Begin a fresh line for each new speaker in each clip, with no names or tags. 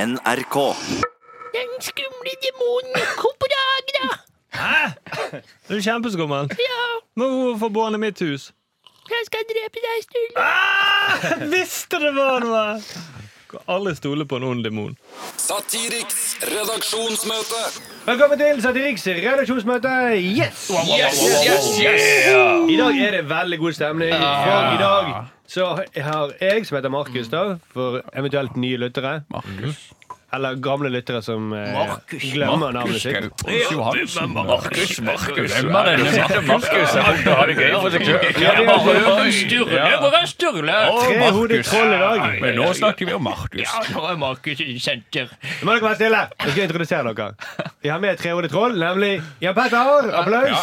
NRK.
Den skumle demonen Koporagra.
Du er kjempeskummel.
Ja,
Må hvorfor bor han i mitt hus?
jeg skal drepe deg, Sturle.
Jeg visste det var noe! Kan aldri stole på en ond demon.
Satiriks redaksjonsmøte.
Velkommen til Satiriks redaksjonsmøte. Yes! I dag er det veldig god stemning. For i dag så har jeg, som heter Markus, da, for eventuelt nye lyttere Eller gamle lyttere som eh, glemmer navnet sitt.
sånn Markus, Markus. Hvem er denne Markus? Jeg håper du har det gøy for seg sjøl.
Sturle, hvor er Sturle?
Trehodet troll i dag.
Men nå snakker vi om Markus.
Ja, nå er Markus i senter.
Nå må dere være stille. Jeg skal introdusere dere. Vi har med trehodet troll, nemlig Jan Petter. Applaus.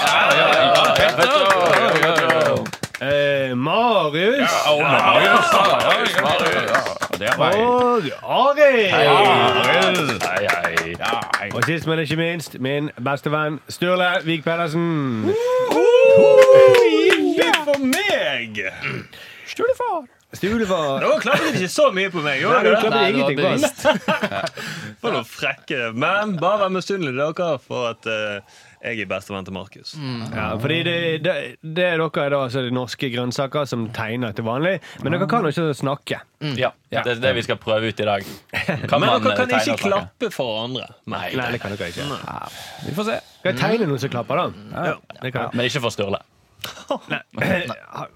Eh, Marius.
Å, Marius. Marius, Marius, ja. Det er meg.
Og Arild.
Hei, hei. Ja, hei.
Og sist, men ikke minst, min beste venn Sturle Vik Pedersen.
For meg!
Stulefar.
Nå klarte de ikke så mye på
Nei,
meg. gjorde
du
de det?
klarte
Nei, det var
ingenting på
bevisst.
For noen frekke. Men bare vær misunnelige dere for at eh, jeg er bestevenn til Markus.
Ja, fordi det, det, det er dere da, altså de norske grønnsaker som tegner til vanlig, men dere kan jo ikke snakke.
Mm, Ja, det er det vi skal prøve ut i dag. Kan
Men
man,
dere
eh,
kan ikke
tegne og snakke?
klappe for andre.
Nei,
Nei, det kan dere ikke.
Vi får se.
Skal jeg tegne noen som klapper, da? Det kan dere.
men ikke for Sturle.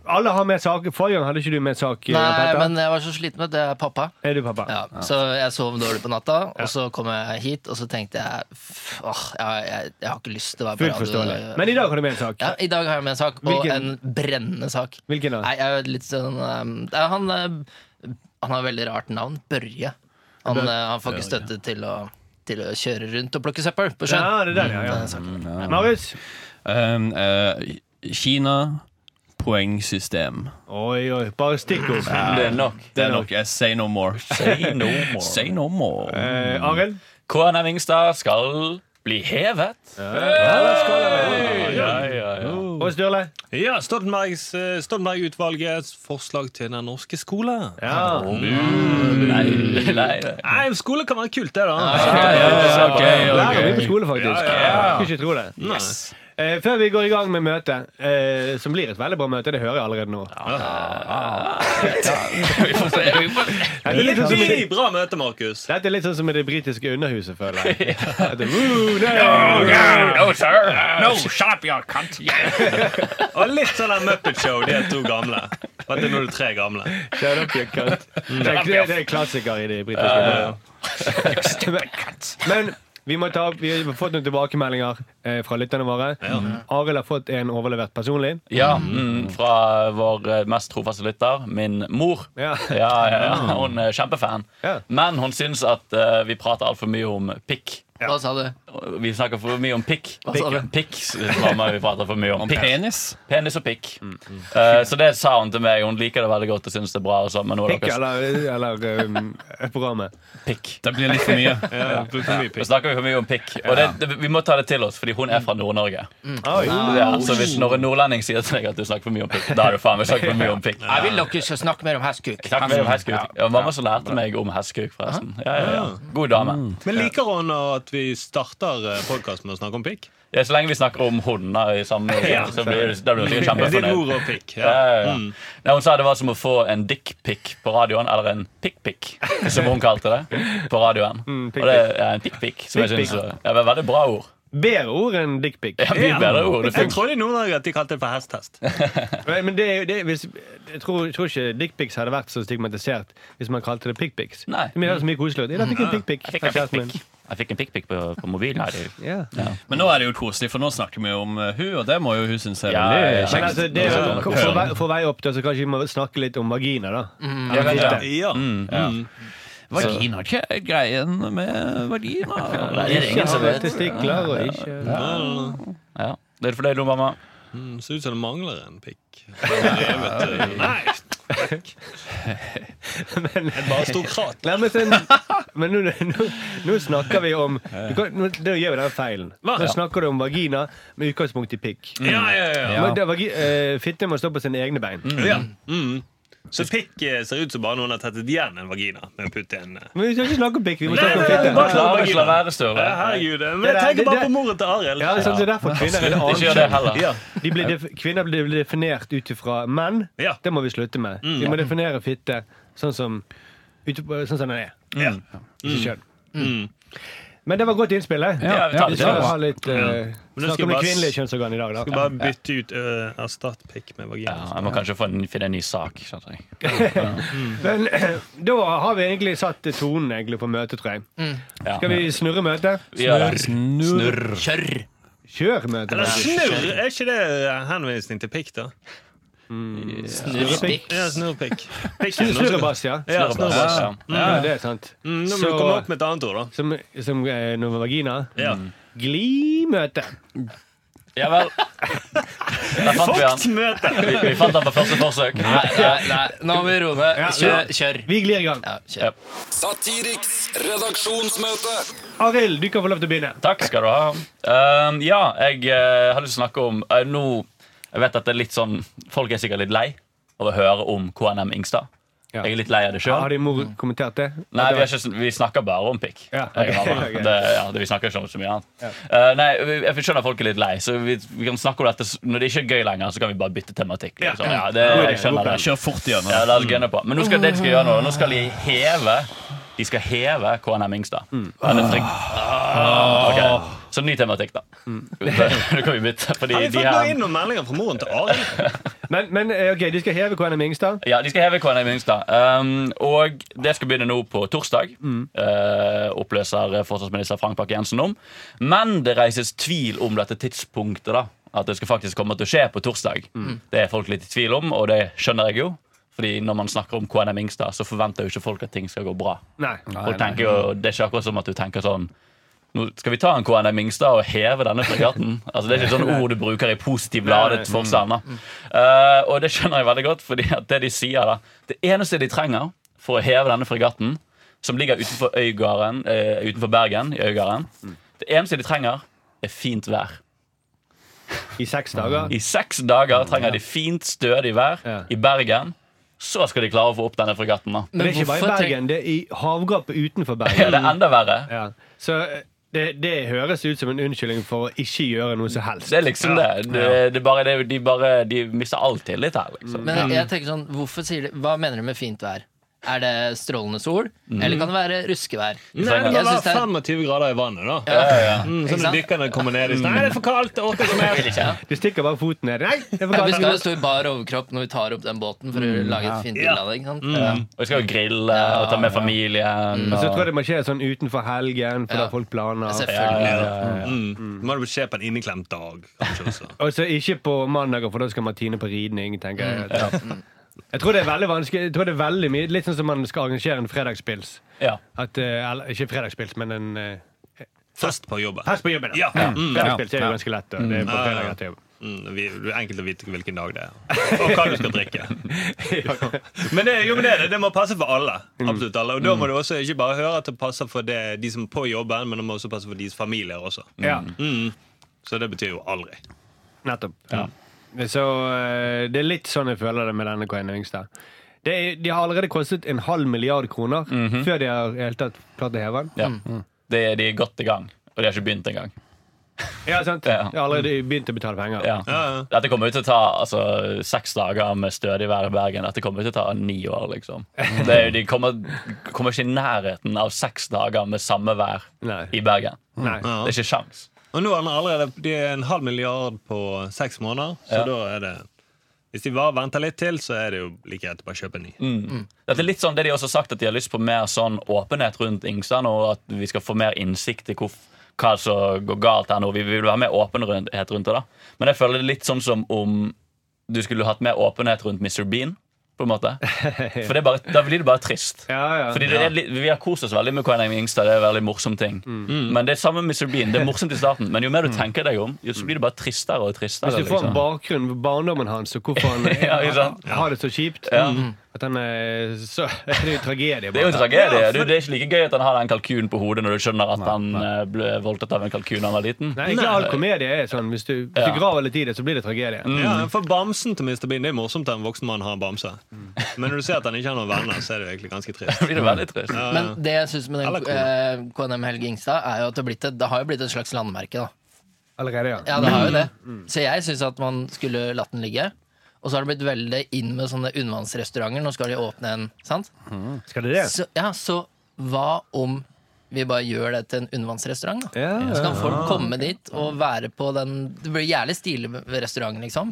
Alle har med sak. Forrige gang hadde ikke du med sak.
Nei,
Petter.
men jeg var så sliten med at det er pappa.
Er du pappa?
Ja, så jeg sov dårlig på natta, og så kom jeg hit, og så tenkte jeg "F- åh, jeg, jeg, jeg har ikke lyst til å være på
Fullt
radio.
forståelig. Men i dag har du med en sak.
ja, I dag har jeg med en sak, og
Hvilken-
en brennende sak.
Hvilken da?
Nei, jeg er litt sånn ehm, det er han, eh, han har veldig rart navn. Børje. Han, eh, han får ikke støtte til å, til å kjøre rundt og plukke søppel på
Ja,
sjøen.
det er den, ja,
Det er
ja.
saken.
Marius.
Um, eh, Kina, poengsystem.
Oi, oi. Bare stikkord.
Det er nok.
Det er nok. eh, Say no more.
Say no more.
Say no more.
Eh, Arild.
Kåren Vingstad skal bli hevet. Ja, ja, ja, Oh. ja.
Og Sturle.
Ja, Stoltenbergs, eh, Stoltenberg-utvalgets forslag til den norske skole.
Ja.
Nei, nei.
Nei, skole kan være kult, det, da.
Ja, ja, ja, ok,
Lærer mye
ok.
på skole, faktisk. Skulle ikke tro det. Eh, før vi går i gang med møtet, eh, som blir et veldig bra møte, det hører jeg allerede nå.
Vi får se, vi får se.
Dette, er litt sånn som i
Nei.
det,
Bra møte, Markus.
dette er litt sånn som i det britiske underhuset, føler jeg. At det- Woo, nei.
No, sir. No, shut
Og litt sånn der Muppet Show, de er to gamle. Dette er nå de tre gamle.
Shut up, you cunt.
Mm.
Det er- Det er en klassiker i det britiske underhuset. Men vi, må ta, opp- vi har fått noen tilbakemeldinger eh, fra lytterne våre. Mm. Arild har fått en overlevert personlig.
Ja, mm, fra vår eh, mest trofaste lytter, min mor.
Ja.
ja, ja, ja. Hun er kjempefan.
Ja.
Men hun syns at eh, vi prater altfor mye om pikk.
Hva sa du?
Vi snakker for mye om pikk.
Hva sa du?
Pikk, mamma, vi prater for mye om
Om
pikk.
penis?
Penis og pikk. Eh, så det sa hun til meg. Hun liker det veldig godt og syns det er bra. Og så, men nå er
Pikk
dere
eller, eller um, programmet.
pikk.
Det blir litt for mye.
Ja, for mye
Nå
pikk.
snakker vi for mye om pikk. Og det, det, vi må ta det til oss, fordi hun er fra Nord-Norge.
Oi.
Ja, så hvis når en nordlending sier til deg at du snakker for mye om pikk, da har du faen meg snakket for mye om pikk.
Jeg vil dere skal snakke mer om hestkuk.
Takk for hestkuk. Ja, mamma som lærte meg om hestkuk, forresten. Ja, ja, ja. God dame.
Men liker hun at vi starter podkasten med å snakke om pikk?
Ja, så lenge vi snakker om hunder i samme så blir det, da blir du
Din mor
kjempefornøyd.
og pikk.
Ja,
Ja.
ja, ja. Nei, hun sa det var som å få en dickpic på radioen, eller en pick-pick, som hun kalte det. På radioen.
pick-pick.
Og det er en pick-pick, som jeg
Pick-pick.
syns ja, det var veldig bra ord.
Bedre ord enn dickpic.
Ja, mye bedre ord. Det
Jeg
funker.
trodde i Nord-Norge at de kalte det for hesthest.
Nei, Men det, er jo- det, hvis, jeg tror, tror ikke dickpics hadde vært så stigmatisert hvis man kalte det pickpics. Det
Nei.
er mye- det er så mye koseligere. Jeg fikk en pickpic
Jeg fikk
av
en
kjæresten min.
pick-pick. Jeg fikk en pick-pick på, på mobilen. Her. Det-
Ja.
Men nå er det jo koselig, for nå snakker vi om eh, hun, og det må jo hun synes er
Ja, ja, ja.
veldig
Men
kjekt.
altså, det er,
Ja.
jo- for, vei, for vei opp til så kanskje vi må snakke litt om vagina, da.
Mm.
Ja, men det-
Ja.
Vagina er ikke greien med vagina.
Nei, det er det ingen som
Ikke ha
vet.
testikler og ikke
Ja. Er du fornøyd nå, mamma?
Mm, Ser ut som det mangler en pikk. Nei! Et aristokrat.
Nei, men, sen, men nå, nå, nå snakker vi om du kan, nå, Da gjør vi den feilen. Nå snakker du om vagina med utgangspunkt i pikk.
Ja, Mm. ja, ja.
Men det er vagi- eh, Fitte må stå på sine egne bein.
Ja. Mm. Så pikk eh, ser ut som bare noen har tettet igjen en vagina med å putte en eh,
Men vi skal ikke snakke om pikk, vi må snakke om
nei, nei,
fitte.
bare-
Klarer ikke la være,
ja,
Støre.
Herregud, eh, men
Det der-
jeg
det-
tenker bare
det-
på moren til Arild.
Ja, sant, det er derfor kvinner er det
Ikke gjør det
annet
heller.
Ja.
de blir def Kvinner blir definert ut ifra menn.
Ja. Mm.
Det må vi slutte med. Vi må definere fitte sånn som, ut, sånn som den er.
Ja. Mm.
Ikke kjønn. Men det var godt innspill. eh?
Ja, vi tar det.
Vi skal ha litt eh,
Men nå skal
Snakk om
jeg
det
bare s-
kvinnelige kjønnsorganet i dag,
Skal
da.
bare bytte ut eh, Erstatt pikk med
Ja,
vagina.
jeg må kanskje få en, finne en ny sak. skjønner jeg.
Men da har vi egentlig satt tonen egentlig for møtet, tror jeg.
Ja.
Skal vi snurre møtet?
Vi gjør det.
Snurr.
Kjør!
Kjør møtet.
Eller
faktisk.
snurr! Er ikke det eh, henvisning til pikk, da?
Snurrepikk.
Ja, snurrpikk.
Snurrebass, ja.
Ja, snurrebass.
Ja.
Ja, det er sant.
Mm, nå må
Så-
du komme opp med et annet ord,
Som, som eh, noe vagina.
da. Ja.
Glimøte.
Ja vel. Der fant vi han.
Fuktmøte!
Vi, vi fant han på første forsøk.
Nei, nei, nei, nå må vi roe ned.
Ja,
Kjør. kjør.
Vi glir i gang.
Ja, kjør.
Satiriks redaksjonsmøte.
Arild, du kan få lov til å begynne.
Takk skal du ha. Ehm, ja, jeg eh, har lyst til å snakke om eh, nå Jeg vet at det er litt sånn Folk er sikkert litt lei av å høre om KNM Ingstad.
Ja.
Jeg er litt lei av det
Har
sjøl.
din mor kommentert det?
Nei, vi, har ikke, vi snakker bare om pikk.
Ja,
Jeg
ok,
og mamma.
ok.
Det, ja, det, vi snakker ikke om så mye annet. Eh, nei, vi- jeg skjønner at folk er litt lei, så vi, vi kan snakke om dette s- når det ikke er gøy lenger. Så kan vi bare bytte tematikk. Liksom. Ja, det, jeg skjønner den.
Kjør fort igjen.
Ja, la oss gønne på. Men nå skal, det de skal gjøre nå, nå skal de heve De skal heve KNM Ingstad. Ja, det er frykt- Ok, Så ny tematikk, da. Nå kan vi bytte. Fordi
Har vi
de,
fått noe
her,
inn noen meldinger fra moren til Arild?
Men, men eh, ok, de skal heve KNM Ingstad.
ja, de skal heve KNM Ingstad. Um, og det skal begynne nå på torsdag. Eh, oppløser forsvarsminister Frank Bakke-Jensen om. Men det reises tvil om dette tidspunktet. da At det skal faktisk komme til å skje på torsdag. Det er folk litt i tvil om, og det skjønner jeg jo. Fordi når man snakker om KNM Ingstad, så forventer jo ikke folk at ting skal gå bra.
Nei.
Folk tenker jo, Det er ikke akkurat som at du tenker sånn nå skal vi ta en KNM Mingstad og heve denne fregatten. Altså, det er ikke sånn ord du bruker i positiv ladet forstand. da.
Mm.
Eh, og det skjønner jeg veldig godt, fordi at det de sier da, det eneste de trenger for å heve denne fregatten, som ligger utenfor, Øygarden, eh, utenfor Bergen, i Øygarden,
Mm.
det eneste de trenger, er fint vær.
I seks dager.
I seks dager trenger de fint, stødig vær
Mm, Ja.
i Bergen. Så skal de klare å få opp denne fregatten. da.
Men det er ikke bare i
hvorfor
Bergen, det er i havgapet utenfor
Ja, det
Bergen.
er enda verre.
Ja. Så eh, det, det høres ut som en unnskyldning for å ikke gjøre noe som helst.
Det er liksom det. Det, det, er bare, det er- de, bare, de mister all tillit her, liksom.
Men jeg tenker sånn, hvorfor sier de, Hva mener du med fint vær? Er det strålende sol, eller kan det være ruskevær?
Nei, det må
Jeg synes det
være
er-
25 grader i vannet, da. Mm,
Ikke
så
sant?
når dykkerne kommer ned i stedet Nei, det er for kaldt! Jeg orker ikke mer!
Du stikker bare foten ned. Nei, det er for
Ja, vi skal jo
galt.
stå i bar overkropp når vi tar opp den båten for å lage et fint bilde av det. ikke sant?
Og vi skal jo grille og ta med
Mm.
familien.
Og så
Og,
tror jeg det må skje sånn utenfor helgen, for
Ja.
da folk planer.
Selvfølgelig.
Mm. Må det skje på en inneklemt dag, kanskje også.
Og så ikke på mandager, for da skal Martine på ridning, tenker
Mm,
jeg. Ja. Jeg tror det er veldig vanskelig Jeg tror det er veldig mye Litt sånn som man skal arrangere en fredagspils.
ja.
At, eh, eller, ikke fredagspils, men en eh,
Fest på jobben.
Fest på jobben. da.
Ja. Mm.
Fredagspils er jo ganske lett. da. Det er på fredag etter jobb.
Mm, vi- det er enkelt å vite hvilken dag det er, og hva du skal drikke. Men det, jo, men det, er det, det må passe for alle. Absolutt alle. Og da må du også ikke bare høre at det passer for det, de som er på jobben, men det må også passe for deres familier også.
Ja,
Mm. Så det betyr jo aldri.
nettopp. Så eh, det er litt sånn jeg føler det med denne Karin Yngstad. Det er, de har allerede kostet en halv milliard kroner
Mhm.
før de har i det hele tatt klart å heve den.
ja.
Mm.
De, de er godt i gang, og de har ikke begynt engang.
Ja, sant?
Ja.
De har allerede begynt å betale penger.
Ja.
Ja, ja.
Dette kommer jo til å ta altså, seks dager med stødig vær i Bergen. Dette kommer jo til å ta ni år, liksom. Det er, jo- de kommer, kommer ikke i nærheten av seks dager med samme vær
Nei.
i Bergen.
Nei.
Ja.
Det er ikke sjans.
Og nå er den allerede de er en halv milliard på seks måneder, så
Ja.
da er det Hvis de bare venter litt til, så er det jo like greit å bare kjøpe en ny.
Dette er litt sånn det de også har sagt at de har lyst på mer sånn åpenhet rundt Yngstad, og at vi skal få mer innsikt i hvor, hva som går galt her nå. Vi vil være mer åpenhet rundt det. da. Men jeg føler det er litt sånn som om du skulle hatt mer åpenhet rundt Mr. Bean. på en måte. For det er bare, Da blir det bare trist.
Ja, ja.
Fordi det er, litt- Vi har kost oss veldig med KNM Yngstad. Det er en veldig morsom ting
Mm.
Men det er samme med Mr. Bean. Det er morsomt i starten, men jo mer du tenker deg om, jo så blir det bare tristere og tristere.
Hvis du får en
liksom.
bakgrunn for barndommen hans og hvorfor han eh,
Ja, ikke sant?
har det så kjipt,
Ja.
mm, At han er så Det er jo tragedie.
Det er jo en
bare.
tragedie. Du, det er ikke like gøy at han har den kalkunen på hodet når du skjønner at han eh, ble voldtatt av en kalkun da han var liten.
Nei, ikke all komedie er sånn. Hvis du, hvis du graver litt i det, så blir det tragedie.
Ja, for bamsen til Mr. Bean, det er morsomt at en voksen mann har en bamse. Men når du ser at han ikke har noen venner, så er det jo egentlig ganske trist.
Det blir det veldig trist.
Ja,
Men det jeg syns med
Eller
den
cola.
eh, KNM Helge Ingstad, er jo at det, har blitt et, det har jo blitt et slags landmerke. da
Allerede, ja.
Ja, det har jo det. Så jeg syns at man skulle latt den ligge. Og så har det blitt veldig inn med sånne undervannsrestauranter. Nå skal de åpne en, sant?
Skal det det?
Så, ja, så hva om vi bare gjør det til en undervannsrestaurant, da?
Ja,
Så
ja.
kan folk komme dit og være på den Det blir jævlig stilig ved restauranten, liksom.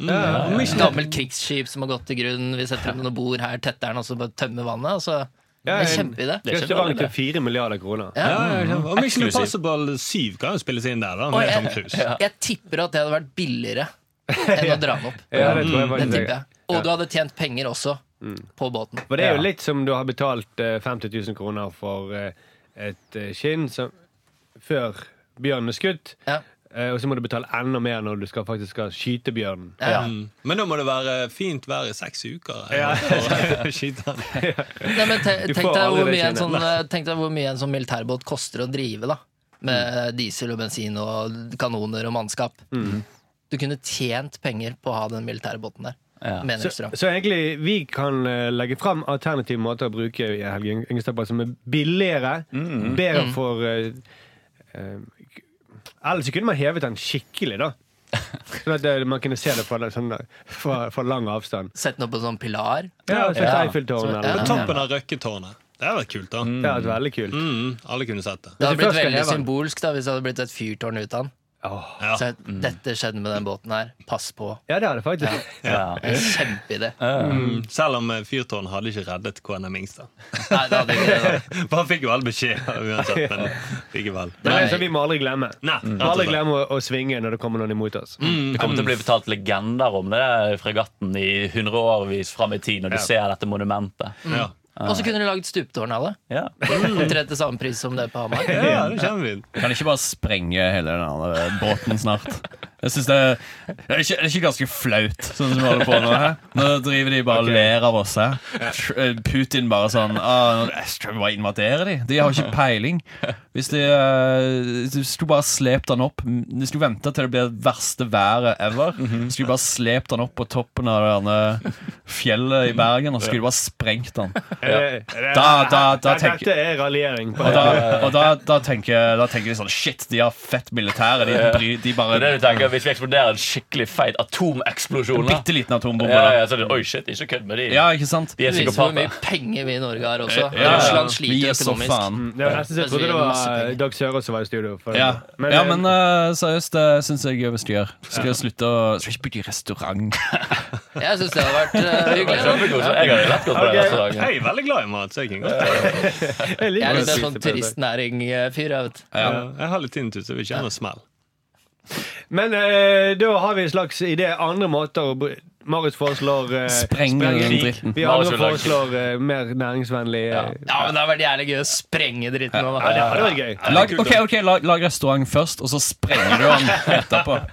Gammelt krigsskip som har gått til grunn, vi setter opp noen bord her, tetter den, og så bare tømmer vannet. Og så det er
en-
kjempeidé.
er ikke
Restaurant
dårlig,
til fire milliarder kroner.
Ja.
Ja, ja, ja. Og Mission
Eksklusiv.
Impossible 7 kan jo spilles inn der, da.
Og
Med Tom
jeg,
Cruise.
jeg tipper at det hadde vært billigere enn å dra den opp.
Ja, det tror jeg
Mm. Det
faktisk
tipper
det.
jeg. Og du hadde tjent penger også på båten.
For det er jo litt som du har betalt eh, 50 000 kroner for eh, et eh, skinn som, før bjørnen er skutt.
Ja.
eh, Og så må du betale enda mer når du skal, faktisk skal skyte bjørnen.
Ja.
Mm. Men da må det være fint vær i seks uker. eller? Skyte han.
Nei, men te,
Du får
tenk, deg
aldri
hvor
det
mye en
kinnet.
sånn, eh, tenk deg hvor mye en sånn militærbåt koster å drive, da. Med diesel og bensin og kanoner og mannskap.
Mm.
Du kunne tjent penger på å ha den militærbåten der.
Ja.
Med en
Så,
restaurant.
så egentlig vi kan eh, legge fram alternative måter å bruke eh, Helge Yng- Yngstad på som er billigere, bedre for eh, eh, k- Ellers så kunne man hevet den skikkelig, da. Sånn at eh, man kunne se det fra, sånn, fra, fra lang avstand.
Sett den opp på en sånn pilar.
Ja, Sånn som
Ja.
Eiffeltårnet.
Så-
eller-
ja.
På toppen av Røkketårnet. Det hadde vært kult, da.
Det hadde vært veldig kult.
Mm, alle kunne sett det.
Det hadde
Hvis du
blitt
først skal
veldig
leve den.
symbolsk da hvis det hadde blitt et fyrtårn ut av den.
Åh.
Ja.
Så
Mm.
dette skjedde med den båten her. Pass på.
Ja, det hadde faktisk.
Ja.
En Kjempeidé.
Mm. Selv om eh, Fyrtårn hadde ikke reddet KNM Ingstad.
Nei, det hadde ikke det. da.
For han fikk jo all beskjed uansett, men likevel.
Det er
Nei.
en som vi må aldri glemme.
Nei,
Vi
Mm. rett
må
og
aldri
slett.
glemme å, å svinge når det kommer noen imot oss.
Det kommer til å bli fortalt legender om det der fregatten i hundreårvis fram i tid, når du ser dette monumentet.
Ja.
Og så kunne du lagd stuptårn av det.
Ja.
Mm.
Omtrent til samme pris som det på Hamar.
ja, det kommer vi inn.
Kan ikke bare sprenge hele den andre båten snart? Jeg synes det, er, det, er ikke, det er ikke ganske flaut, sånn som vi holder på nå. her. Nå driver de bare og ler av oss her. Tr- eh, Putin bare sånn ah, jeg skal bare invadere de. De har ikke peiling. Hvis de, eh, de skulle bare slept han opp De skulle vente til det ble det verste været ever. Så skulle de bare slept han opp på toppen av det derne fjellet i Bergen, og så skulle de bare sprengt han.
Er det- er det-
Da, da, da
Nei,
tenker
eh, Dette er raljering. på-
og da, og da, da, tenker, da tenker de sånn Shit, de har fett militære. De, bry- de
Det er
bare
det du tenker, Hvis vi eksploderer en skikkelig feit atomeksplosjon da.
Bitte liten atombombe.
ja,
da.
ja, så er det, Oi, shit, ikke kødd med de.
Ja, ikke sant?
De er
Det viser hvor
psykopater.
mye penger vi i Norge har
Ja,
også.
ja.
Russland
Vi
sliter
gir så
økonomisk.
faen.
Mm, Det var nesten så jeg trodde det
Masse
var eh,
penger.
Dag Sørås som var i studio. for-
Ja,
Men,
ja
eh,
men eh, seriøst, det syns jeg vi skal gjøre. Skal jeg slutte å Skal ikke bygge restaurant.
Jeg syns det hadde vært eh,
Det er
hyggelig.
kjempegod, så Jeg hadde lett gått på det
Jeg
restauranten.
er veldig glad i mat, så jeg kan godt
jeg liker
Jeg er
å
litt mer
spise
sånn
pølser.
turistnæring-fyr. jeg vet.
Ja. Jeg har litt tinnitus, så vi kjenner smell.
Men eh, da har vi en slags idé. Andre måter å br- Marius foreslår eh,
Spreng den
sprenging.
dritten.
Vi
Marius
andre
vil lage-
foreslår eh, mer næringsvennlig eh,
Ja, men Det hadde vært jævlig gøy å sprenge dritten nå.
Ja, det
da.
hadde vært gøy.
Lag, ok, ok, lag, lag restaurant først, og så sprenger du den etterpå.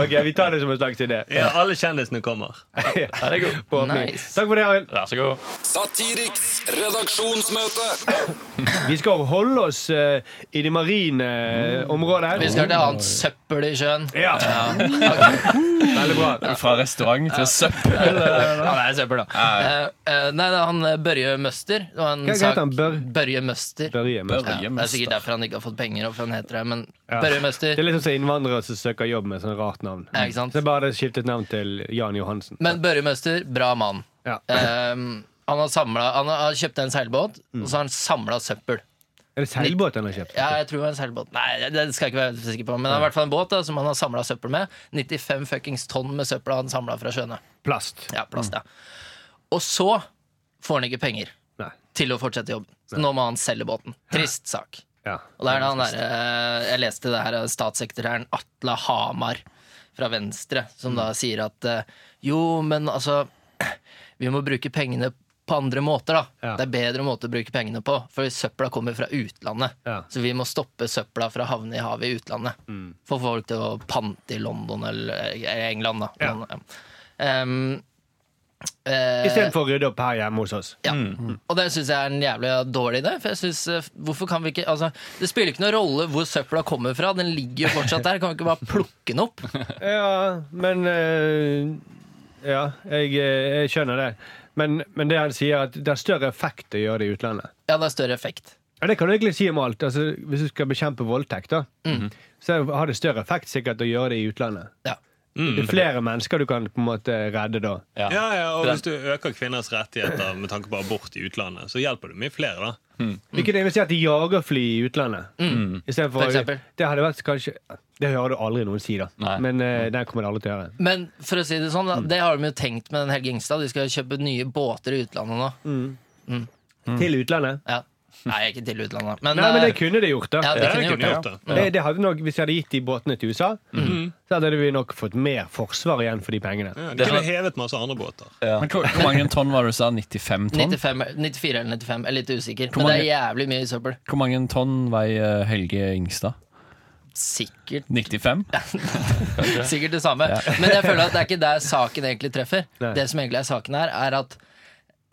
Ok, Vi tar det som en slags idé.
Ja, alle kjendisene kommer.
Ja, det er god.
På åpning.
Nice.
Takk for det, Arild.
Vær så god.
Satiriks redaksjonsmøte.
Vi skal holde oss eh, i det marine eh, området.
Vi skal til annet søppel i sjøen.
Ja, veldig bra.
Fra restaurant til søppel.
Ja, det er søppel, da. Eh, eh, nei, det er han eh, Børje Møster. Det var en
Hva heter
sak-
han? Bør-
Børje Møster.
Børje Møster.
Ja, det er sikkert derfor han ikke har fått penger. Opp, han heter det, men Børje
Det
Møster
er litt sånn innvandrere som søker jobb med sånn rart navn.
Ja, ikke sant?
Så jeg bare hadde skiftet navn til Jan Johansen.
Men Børje Møster, bra mann.
Ja.
Ehm, han, har samlet, han har kjøpt en seilbåt, og så har han samla søppel.
Er det seilbåt han har kjøpt?
Ja, jeg tror det var en seilbåt. Nei, det skal jeg ikke være sikker på Men det er i hvert fall en båt da, som han har samla søppel med. 95 fuckings tonn med søppel har han samla fra sjøene.
Plast.
Ja, plast, ja. Og så får han ikke penger
Nei.
til å fortsette jobben. Så nå må han selge båten. Trist sak.
Ja.
Og det er da han der, eh, Jeg leste det her av statssekretæren Atle Hamar fra Venstre, som
Mm.
da sier at eh, jo, men altså Vi må bruke pengene på andre måter, da.
Ja.
Det er bedre måter å bruke pengene på, for søpla kommer fra utlandet.
Ja. Mm.
Så vi må stoppe søpla fra å havne i havet i utlandet. Få folk til å pante i London eller eh, England, da.
Ja.
Men, eh, em, Eh,
Istedenfor å rydde opp her hjemme hos oss.
Ja. Mm. Og det syns jeg er en jævlig dårlig idé. For jeg synes, eh, hvorfor kan vi ikke, altså, Det spiller ikke noen rolle hvor søpla kommer fra, den ligger jo fortsatt der. Kan vi ikke bare plukke den opp?
Ja, men eh, Ja, jeg, eh, jeg skjønner det. Men, men det han sier, at det er større effekt å gjøre det i utlandet.
Ja, det er større effekt.
Ja, Det kan du egentlig si om alt. Altså, hvis du skal bekjempe voldtekt, da, så har det større effekt sikkert å gjøre det i utlandet.
Ja.
Det er flere mennesker du kan på en måte redde da.
Ja, ja, og Hvis du øker kvinners rettigheter med tanke på abort i utlandet, så hjelper du mye flere. da
Vi kunne investert i jagerfly i utlandet. I stedet Mm.
For
for,
eksempel.
det hadde vært kanskje Det hører du aldri noen si, da.
Nei.
Men eh, den kommer de aldri til å gjøre.
Men for å si det sånn, da, det har de jo tenkt med den Helge Ingstad. De skal jo kjøpe nye båter i utlandet nå. Mm.
Til utlandet.
Ja. Nei, ikke til utlandet, men,
Nei, men det
eh,
kunne de gjort, da.
ja, det
Ja,
kunne
jeg
de
kunne
gjort. Mm.
gjort det.
Det, det hadde nok, hvis vi hadde gitt de båtene til USA, så hadde vi nok fått mer forsvar igjen for de pengene.
Ja,
Det
de
som-
kunne hevet masse andre båter.
Men hvor, hvor mange tonn var det du sa? 95 tonn?
95, 94 eller 95, jeg er litt usikker.
Hvor
Men det er
mange-
jævlig mye søppel.
Hvor mange tonn veier Helge Ingstad?
Sikkert
95?
Sikkert det samme. Men jeg føler at det er ikke der saken egentlig treffer.
Nei.
Det som egentlig er saken her, er at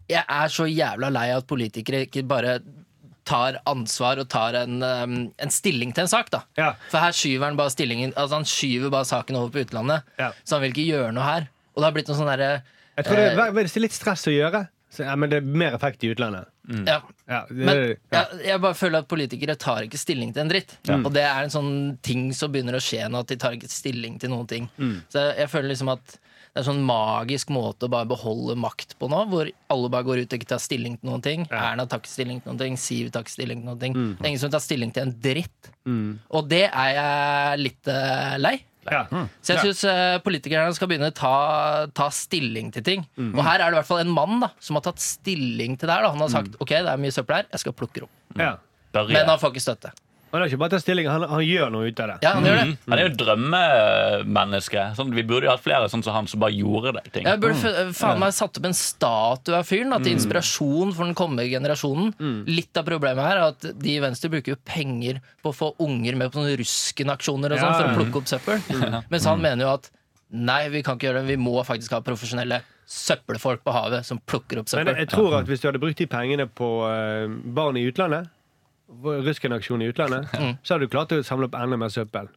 jeg er så jævla lei av at politikere ikke bare tar ansvar og tar en, um, en stilling til en sak, da.
Ja.
For her skyver han bare stillingen Altså han skyver bare saken over på utlandet,
Ja.
så han vil ikke gjøre noe her. Og det har blitt noe sånn derre
Jeg tror det, er- det er litt stress å gjøre. Så, ja, men det er mer effekt i utlandet.
ja.
Ja, det,
Men
ja.
jeg, jeg bare føler at politikere tar ikke stilling til en dritt. Og det er en sånn ting som begynner å skje nå, at de tar ikke stilling til noen ting.
Mm.
Så jeg, jeg føler liksom at det er en sånn magisk måte å bare beholde makt på nå, hvor alle bare går ut og ikke tar stilling til noen ting. Erna tar ikke stilling til noen ting, Siv tar ikke stilling til noen
Mm.
ting. Det er ingen som tar stilling til en dritt. Og det er jeg litt eh, lei.
Ja.
Så jeg syns politikerne skal begynne å ta, ta stilling til ting.
Mhm.
Og her er det i hvert fall en mann da, som har tatt stilling til det her. Da. Han har sagt ok, det er mye søppel her, jeg skal plukke det opp.
Mhm. Ja.
Børje.
Men han får ikke støtte.
Han har ikke bare tatt stilling, han, han gjør noe ut av det.
Ja, han gjør det.
Han er jo et drømmemenneske. Sånn, vi burde jo hatt flere sånn som han som bare gjorde det. ting
Jeg burde
Mhm.
f- faen meg satt opp en statue av fyren da, til inspirasjon for den kommende generasjonen.
Mhm.
Litt av problemet her er at de i Venstre bruker jo penger på å få unger med på sånne ruskenaksjoner og sånn
Ja, Mhm.
for
ja.
å plukke opp søppel. Mens han mener jo at nei, vi kan ikke gjøre det. Vi må faktisk ha profesjonelle søppelfolk på havet som plukker opp
Men
søppel.
jeg tror at hvis du hadde brukt de pengene på eh, barn i utlandet, Rusken-aksjon i utlandet,
Mm.
så hadde du klart å samle opp enda mer søppel.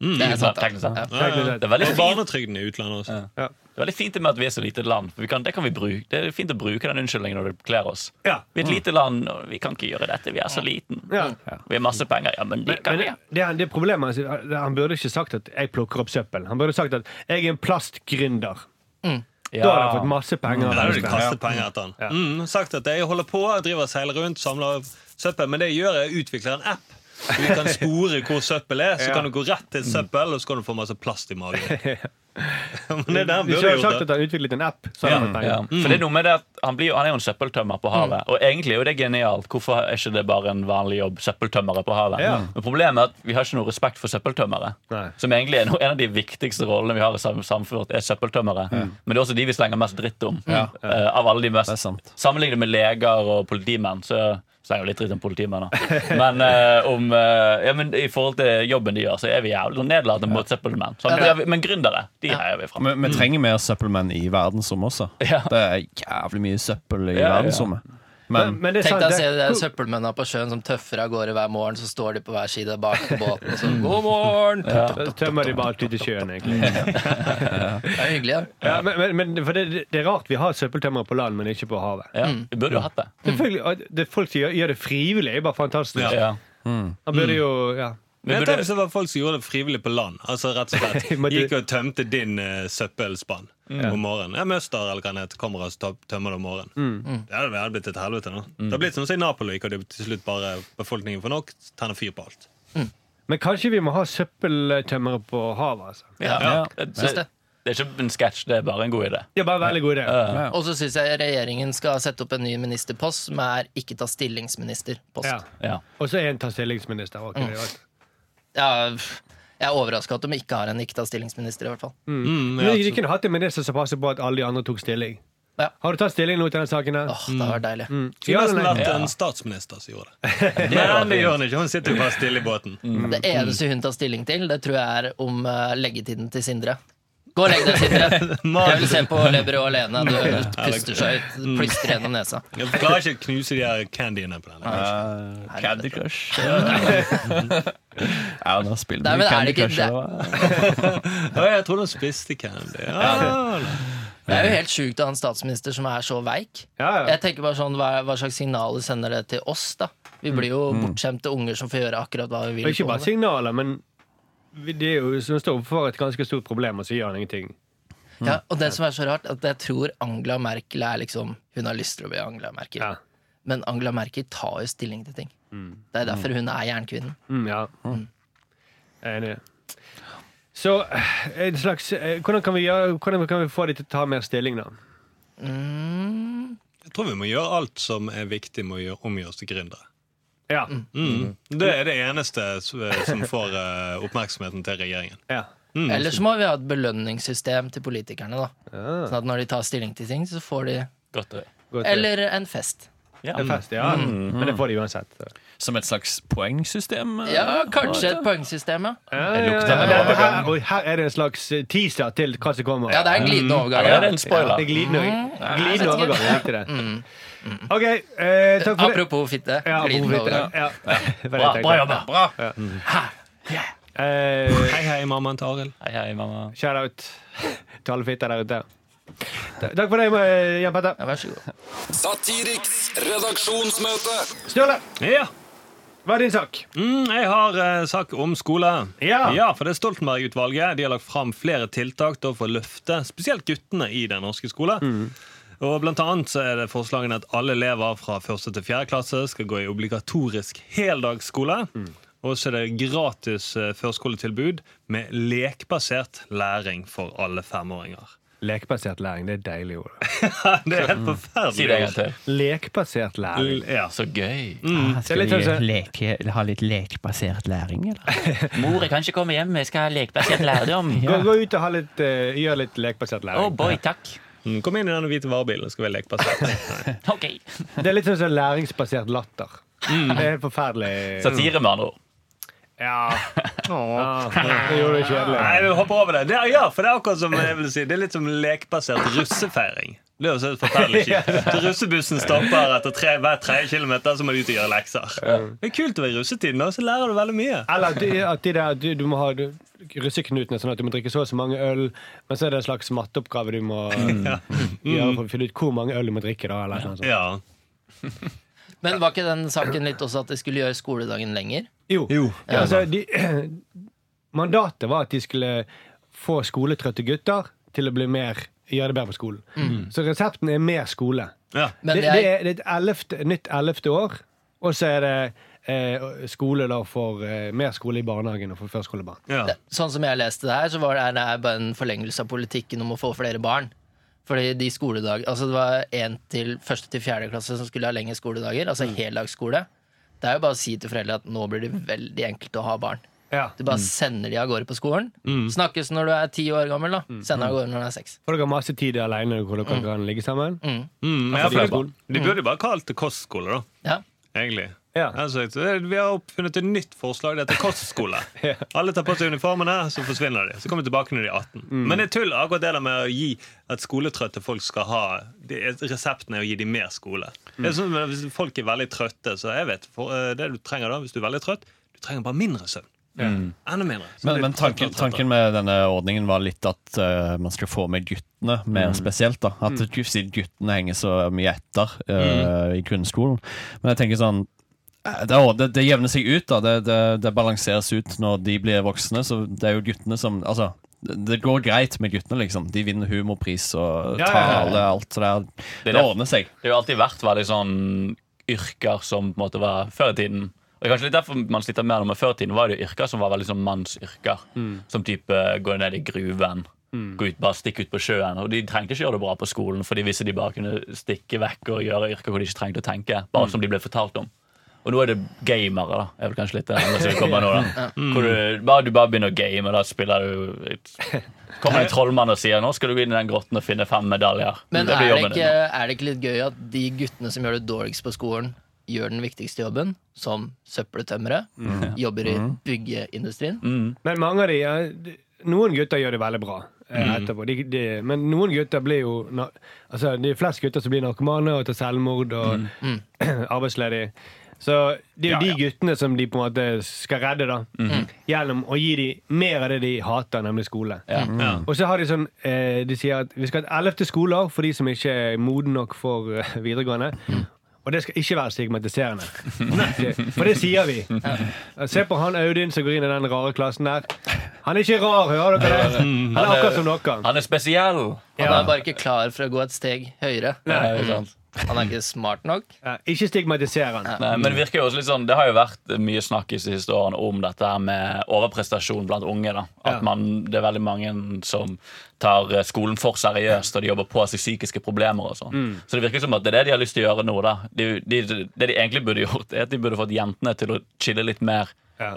Det er sant, da.
Teknisk sett.
Ja.
Teknisk sett.
Mm, Det er veldig
Og
fint,
barnetrygden i utlandet også.
det er veldig fint med at vi er så lite land. For vi kan, det, kan vi bruke, det er fint å bruke den unnskyldningen når det kler oss.
Ja.
Vi er et lite land, og vi kan ikke gjøre dette. Vi er så liten.
Ja.
Vi har masse penger. Ja, men det kan
Men
vi.
det, det, det problemet er at Han burde ikke sagt at 'jeg plukker opp søppel'. Han burde sagt at 'jeg er en plastgründer'. Da hadde han fått masse penger. Mm. av
Mm. Da hadde du
Venstre.
kastet penger etter han. Mm, sagt at jeg holder på, jeg driver og seiler rundt, samler søppel. Men det jeg gjør, er å utvikle en app. Du kan spore hvor søppel er, så
Ja. Mm.
kan du gå rett til søppel, og så kan du få masse plast i magen. Men det er det han
Hvis
burde
jeg hadde
gjort.
sagt at
da.
han utviklet en app, så hadde han fått
Ja.
penger.
Mm.
For det er noe med det at han, blir, jo- han er jo en søppeltømmer på havet, og egentlig er jo det genialt. Hvorfor er ikke det bare en vanlig jobb? Søppeltømmere på havet.
Ja.
Men problemet er at vi har ikke noe respekt for søppeltømmere.
Nei.
Som egentlig er no- en av de viktigste rollene vi har i sam- samfunnet, er søppeltømmere. Men det er også de vi slenger mest dritt om. Eh, av alle de mest
Det er sant.
Sammenlignet med leger og politimenn, så slenger vi litt dritt om politimenn. Da. Men, eh, om, eh, ja, men i forhold til jobben de gjør, så er vi jævlig sånn nedlatende mot søppelmenn. Så,
Ja,
men gründere, de heier vi fram.
Vi, vi trenger mer søppelmenn i verdensrommet også.
Ja.
Det er jævlig mye søppel i
Ja, ja.
verdensrommet. Men,
Men det er
Tenk
sant,
deg å se
det-
de der søppelmennene på sjøen som tøffer av gårde hver morgen. Så står de på hver side bak på båten og sånn 'God morgen!'
Da tømmer de bare alt ut i sjøen, egentlig.
Det er hyggelig, ja.
Ja, men, men, men for det, det er rart vi har søppeltømmere på land, men ikke på havet.
Ja,
Mm.
vi burde jo hatt det.
Selvfølgelig, at det er Folk som gjør, gjør det frivillig, er bare fantastisk.
Ja.
Han burde jo ja.
Vi
Men
burde-
tenk hvis det var folk som gjorde det frivillig på land. Altså rett og slett
Men du- Mm.
Gikk og tømte din eh, søppelspann om morgenen. Ja, Møster eller hva det heter, kommer og så tøm- tømmer det om morgenen.
Mm.
Det hadde vel blitt et helvete nå. Det hadde blitt som å si Napoli, og det er til slutt bare befolkningen får nok, tenner fyr på alt.
Men kanskje vi må ha søppeltømmere på havet, altså.
ja.
Ja. Det,
Syns det.
det er ikke en sketsj, det er bare en god idé.
Det er bare en veldig god idé.
Og så syns jeg regjeringen skal sette opp en ny ministerpost som er ikke ta stillingsministerpost.
Ja.
Ja.
Ja.
Og så er en tar stillingsminister. ok, det er godt.
pff, jeg er overraska at de ikke har en ikke ta stillingsminister, i hvert fall.
Mm,
Men De kunne hatt en minister som passer på at alle de andre tok stilling.
Ja.
Har du tatt stilling nå til den saken her?
Åh, det har vært deilig.
Ja,
Skulle nesten
eller nei?
vært en statsminister som gjorde det. Mm. Men det gjør hun ikke. Hun sitter jo bare stille i båten.
Det eneste hun tar stilling til, det tror jeg er om eh, leggetiden til Sindre. Gå og legg deg, Sindre. Jeg vil se på Leverø alene. Du puster seg ut. Plystrer gjennom nesa.
Jeg klarer ikke å knuse de her candyene på den.
Eh, Candy Crush. Ja, nå spiller
Nei,
du
men er
Candy
det ikke-
Crush.
det-
eller hva?
Å, jeg trodde hun spiste candy. Ah,
Det er jo helt sjukt av en statsminister som er så veik.
Ja, ja.
Jeg tenker bare sånn, Hva, hva slags signaler sender det til oss, da? Vi blir jo bortskjemte unger som får gjøre akkurat hva vi vil.
Og ikke
på
bare
det.
signaler, men vi- det er jo som står overfor et ganske stort problem, og så gjør han ingenting.
Ja, og det som er så rart, at jeg tror Angela Merkel er liksom Hun har lyst til å bli Angela Merkel.
Ja.
Men Angela Merkel tar jo stilling til ting. Det er derfor hun er jernkvinnen.
Mm, ja. Jeg er enig. Så eh, en slags eh, Hvordan kan vi, gjøre, hvordan kan vi få de til å ta mer stilling, da?
Jeg tror vi må gjøre alt som er viktig med å gjøre omgjøres til gründere.
Ja.
Mm. Det er det eneste s- som får eh, oppmerksomheten til regjeringen.
ja.
Eller så må vi ha et belønningssystem til politikerne. da Sånn at når de tar stilling til ting, så får de
Godt å høre.
Godt.
Eller en fest.
En fest, ja. Men det får de uansett. så.
Som et slags poengsystem? eh?
Ja, kanskje et poengsystem, ja.
Ja, ja,
lukter
ja.
en
Dette her, og her er det en slags eh, teaser til hva som kommer.
Ja, det er en glidende overgang.
Eller er det
Ja.
en spoiler?
Det er glidende, glidende overgang. Jeg likte det. OK, eh, takk for det.
Apropos fitte.
Ja,
Glidende
apropos-
overgang.
Ja.
Bra, bra jobba.
Eh,
Hei, hei, mammaen til Arild.
Hei, hei, mamma.
Shout-out til alle fitter der ute. Takk for deg, eh, Jan Petter.
Ja, vær så god.
Satiriks redaksjonsmøte.
Sturle,
Ja.
hva er din sak?
Mm, jeg har eh, sak om skole.
Ja.
for det er Stoltenberg-utvalget. De har lagt fram flere tiltak da, for å løfte spesielt guttene i den norske skolen.
Mm.
Og blant annet så er det forslagene at alle elever fra 1. til 4. klasse skal gå i obligatorisk heldagsskole.
Mm.
Og så er det gratis eh, førskoletilbud med lekbasert læring for alle femåringer.
Lekbasert læring. Det er deilig ord.
det er helt
Mm. Si det en gang
forferdelig.
til.
Lekbasert læring.
L- Ja.
Så gøy.
Det er litt sånn som-
ha litt lekbasert læring, eller?
Mor, jeg kan ikke komme hjem. Jeg skal ha lekbasert lærdom.
Gå, gå ut og ha litt, eh, gjør litt lekbasert læring.
boy, takk.
Mm, Kom inn i den hvite varebilen, skal være lekbasert.
Ok.
Det er litt sånn som læringsbasert latter. Det er helt forferdelig.
Satire, med andre ord.
Ja. Ja, Det gjorde det
Nei,
kjedelig.
vi hopper over det. det er, ja, for det er akkurat som jeg vil si Det er litt som lekbasert russefeiring. Det er jo så forferdelig kjipt. Så Russebussen stopper etter tre, hver tredje kilometer, så må du ut og gjøre lekser. Det er kult å være i russetiden, og så lærer du veldig mye.
Eller at de- at de der, du, du må ha du- russeknutene, sånn at du må drikke så og så mange øl, men så er det en slags matteoppgave du må eh, gjøre for å finne ut hvor mange øl du må drikke. da, eller noe sånt.
Ja.
Men var ikke den saken litt også at de skulle gjøre skoledagen lenger?
Jo. Ja, altså, de, mandatet var at de skulle få skoletrøtte gutter til å bli mer, gjøre det bedre på skolen. Så resepten er mer skole.
ja.
Men
det,
jeg-
det er, det er et ellevte- nytt ellevte år, og så er det eh, skole da for eh, mer skole i barnehagen og for førskolebarn.
ja.
det- sånn som jeg leste det her, så var det, det er bare en forlengelse av politikken om å få flere barn. Fordi de skoledag, altså Det var en til første til fjerde klasse som skulle ha lengre skoledager. Altså
Mm.
heldagsskole. Det er jo bare å si til foreldre at nå blir det veldig enkelt å ha barn.
Ja.
Du bare sender de av gårde på skolen.
Mm.
Snakkes når du er ti år gammel, da. Sender av gårde når du er seks.
Og dere har masse tid alene hvor dere kan ligge sammen.
Mm, men jeg, føler- de burde jo bare kalt det kostskole, da.
Ja.
Egentlig.
Ja.
Altså, vi har oppfunnet et nytt forslag. Det heter kostskole.
Ja.
Alle tar på seg uniformene, så forsvinner de. Så kommer de tilbake når de er 18.
Mm.
Men det er tull akkurat det der med å gi at skoletrøtte folk skal ha det, er- Resepten er å gi dem mer skole.
Mm.
Det er sånn, men Hvis folk er veldig trøtte, så jeg vet for, eh, det du trenger da, hvis du er veldig trøtt, du trenger bare mindre søvn. Mm. Enda mindre. Så
Men,
blir
men
du
tanken,
trøttere og trøttere.
tanken med denne ordningen var litt at eh, man skulle få med guttene mer spesielt. da At gu- siden guttene henger så mye etter eh, i grunnskolen. Men jeg tenker sånn eh, det, er også- det, det jevner seg ut, da. Det, det, det balanseres ut når de blir voksne. Så det er jo guttene som Altså, det det går greit med guttene, liksom. De vinner humorpris og
Ja,
tar
ja, ja.
alle alt det der.
Det er
Det
det.
ordner seg.
Det har jo alltid vært veldig sånn yrker som på en måte var før i tiden. Og det er kanskje litt derfor man sliter mer nå, men Før i tiden var det jo yrker som var veldig sånn mannsyrker.
Mm.
Som type gå ned i gruven, gå ut, bare stikke ut på sjøen. Og de trengte ikke gjøre det bra på skolen, for de visste de bare kunne stikke vekk og gjøre yrker hvor de ikke trengte å tenke.
Mm.
Bare som de ble fortalt om. Og nå er det gamere, da. Er vel kanskje litt det andre som kommer nå, da. Hvor du bare, du bare begynner å game, og da spiller du Kommer en trollmann og sier 'Nå skal du gå inn i den grotten og finne fem medaljer'.
Men
blir
er det,
jobben din.
ikke, er det ikke litt gøy at de guttene som gjør det dårligst på skolen, gjør den viktigste jobben, som søppeltømmere, jobber i byggeindustrien?
Men mange av de, eh, de- noen gutter gjør det veldig bra. Eh, eh, etterpå. De, de, men noen gutter blir jo na- altså, Det er flest gutter som blir narkomane og tar selvmord og arbeidsledig. Så det er jo de guttene som de på en måte skal redde, da. Gjennom å gi dem mer av det de hater, nemlig skole.
Ja.
Og så har de sånn eh, De sier at vi skal ha et ellevte skoleår for de som ikke er modne nok for eh, videregående. Og det skal ikke være stigmatiserende. For det sier vi. Se på han Audun som går inn i den rare klassen der. Han er ikke rar, hører dere det? Han er akkurat som dere.
Han er spesiell.
Han er bare ikke klar for å gå et steg høyere.
Nei, ikke sant?
Han er ikke smart nok.
Ja, Ikke stigmatiser han.
Nei, men det virker jo også litt sånn Det har jo vært mye snakk i de siste årene om dette her med overprestasjon blant unge. da At man, Det er veldig mange som tar eh, skolen for seriøst, og de jobber på seg psykiske problemer. og sånn Så det virker som at det er det de har lyst til å gjøre nå. da de, de, Det de egentlig burde gjort, er at de burde fått jentene til å chille litt mer.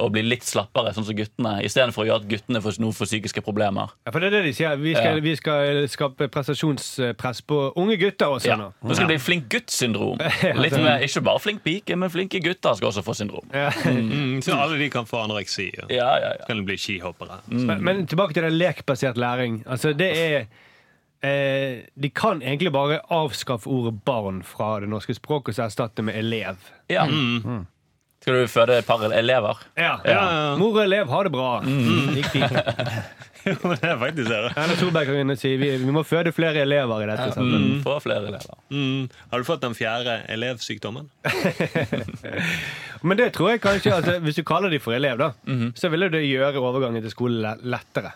Og bli litt slappere, sånn som guttene. Istedenfor å gjøre at guttene får, nå får psykiske problemer.
Ja, for det er det de sier. Vi
Ja.
skal, vi skal eh, skape prestasjonspress på unge gutter også
Ja.
nå.
Nå skal det bli flink gutt-syndrom. Litt mer, Ikke bare flink pike, men flinke gutter skal også få syndrom.
Ja.
Mm, så alle de kan få anoreksi. Ja.
Ja, ja, ja.
Kan bli skihoppere.
Mm.
Men, men tilbake til det lekbasert læring. Altså, det er eh, De kan egentlig bare avskaffe ordet 'barn' fra det norske språket og så erstatte med 'elev'.
Ja.
Mm.
Mm. Skal du føde et par elever?
Ja.
Ja, ja.
Mor og elev, ha det bra.
Mm.
Gikk fint.
Men det er faktisk det. da.
Erna Solberg kan gå inn og si vi, vi må føde flere elever i dette.
Mm.
samfunnet.
Få flere elever.
Mm. Har du fått den fjerde elevsykdommen?
Men det tror jeg kanskje altså, Hvis du kaller de for elev, da,
Mm.
så vil jo det gjøre overgangen til skole le- lettere.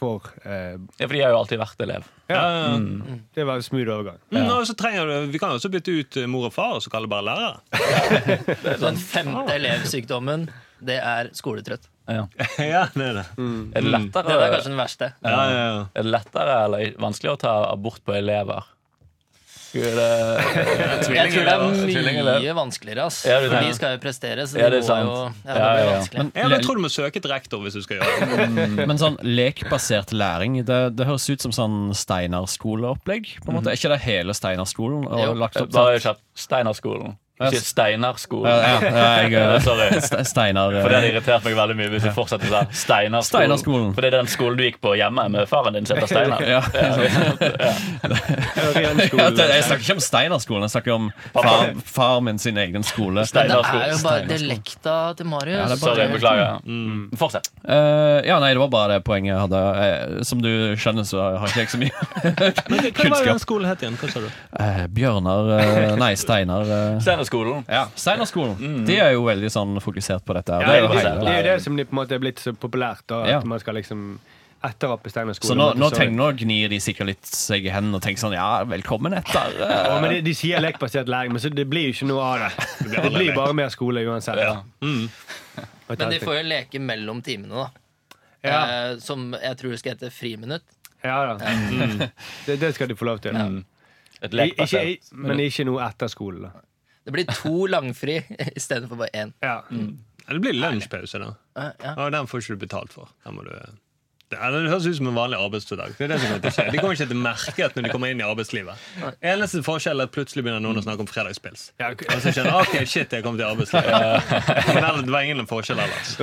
For eh,
Ja, for de har jo alltid vært elev.
ja,
Mm.
det var en smooth overgang.
Mm, og så trenger du, Vi kan jo også bytte ut eh, mor og far, og så kalle det bare lærere.
Den femte elevsykdommen, det er skoletrøtt.
Ja.
ja, det er det.
Er det lettere,
Det er kanskje den verste.
Ja, ja, ja.
er det lettere eller vanskeligere å ta abort på elever? Skulle det-
Jeg tror det er
Tvillingelev.
mye vanskeligere, ass.
Ja, det er
For de
det.
skal jo prestere, så
Ja,
de
det er
må
sant.
jo ja, det
Ja,
blir
ja, ja.
vanskelig.
Men,
Ja, men jeg tror du må søke et rektor hvis du skal gjøre det.
men sånn lekbasert læring, det, det høres ut som sånn Steinar-skoleopplegg. på en måte. Er ikke det hele Steinar-skolen? og
Jo.
lagt opp
Bare
sånn?
kjapt. Steinerskolen.
Ja,
Ikke
s-
Steinerskolen.
Ja, ja, jeg,
Ja,
eh,
Sorry.
Ste- Steinar eh,
For det har irritert meg veldig mye hvis vi fortsetter sånn. Steinerskolen.
Steinerskolen.
For det er den skolen du gikk på hjemme med faren din, som heter Steinar.
ja.
Ren
Ja, det-
skole.
Jeg snakker ikke om Steinar-skolen, jeg snakker om far, far min sin egen skole.
Det
Steinerskolen.
er jo bare dialekta til Marius.
Ja, det Mm. er bare
Sorry, beklager. Fortsett.
Eh, ja, nei, det var bare det poenget jeg hadde. Eh, som du skjønner, så har ikke jeg så mye
Hva var den
kunnskap.
skolen het igjen? Hva sa du?
Eh, Bjørnar eh, Nei, Steinar. eh,
Steinerskolen.
ja, Steinerskolen.
Mm.
De er jo veldig sånn fokusert på dette. her.
Ja, det, er jo
det
det,
er jo
det
hele.
er jo det som de på en måte er blitt så populært. Da, at
Ja.
man skal liksom etterappe Steinar skole.
Så nå, nå,
Så-
tenk, nå gnir de sikkert litt seg i hendene og tenker sånn Ja, velkommen etter. eh.
ja, men de, de sier lekbasert læring, men så det blir jo ikke noe av det.
blir
Det
aldri
blir
lek.
bare mer skole uansett. Mm.
Ja.
Og
Men de
tenk-
får jo leke mellom timene, da.
ja,
Eh, som jeg tror skal hete friminutt.
ja, da. Mm. Det, det skal de få lov til.
Et
I, ikke,
lekbasert.
i, men ikke noe etter skole. Da.
Det blir to langfri istedenfor bare én.
Ja.
Ja, Det blir lunsjpause, da.
Eh, ja.
Ja, den får ikke du betalt for. Den må du... Det, ja, det høres ut som en vanlig arbeidsdag. Det er det som er interessant. De kommer ikke til å merke at når de kommer inn i arbeidslivet. Eneste forskjell er at plutselig begynner noen å snakke om fredagspils.
Ja,
Og så kjenner jeg, ok, shit, jeg kom til arbeidslivet. Men ellers- det var ingen forskjell ellers.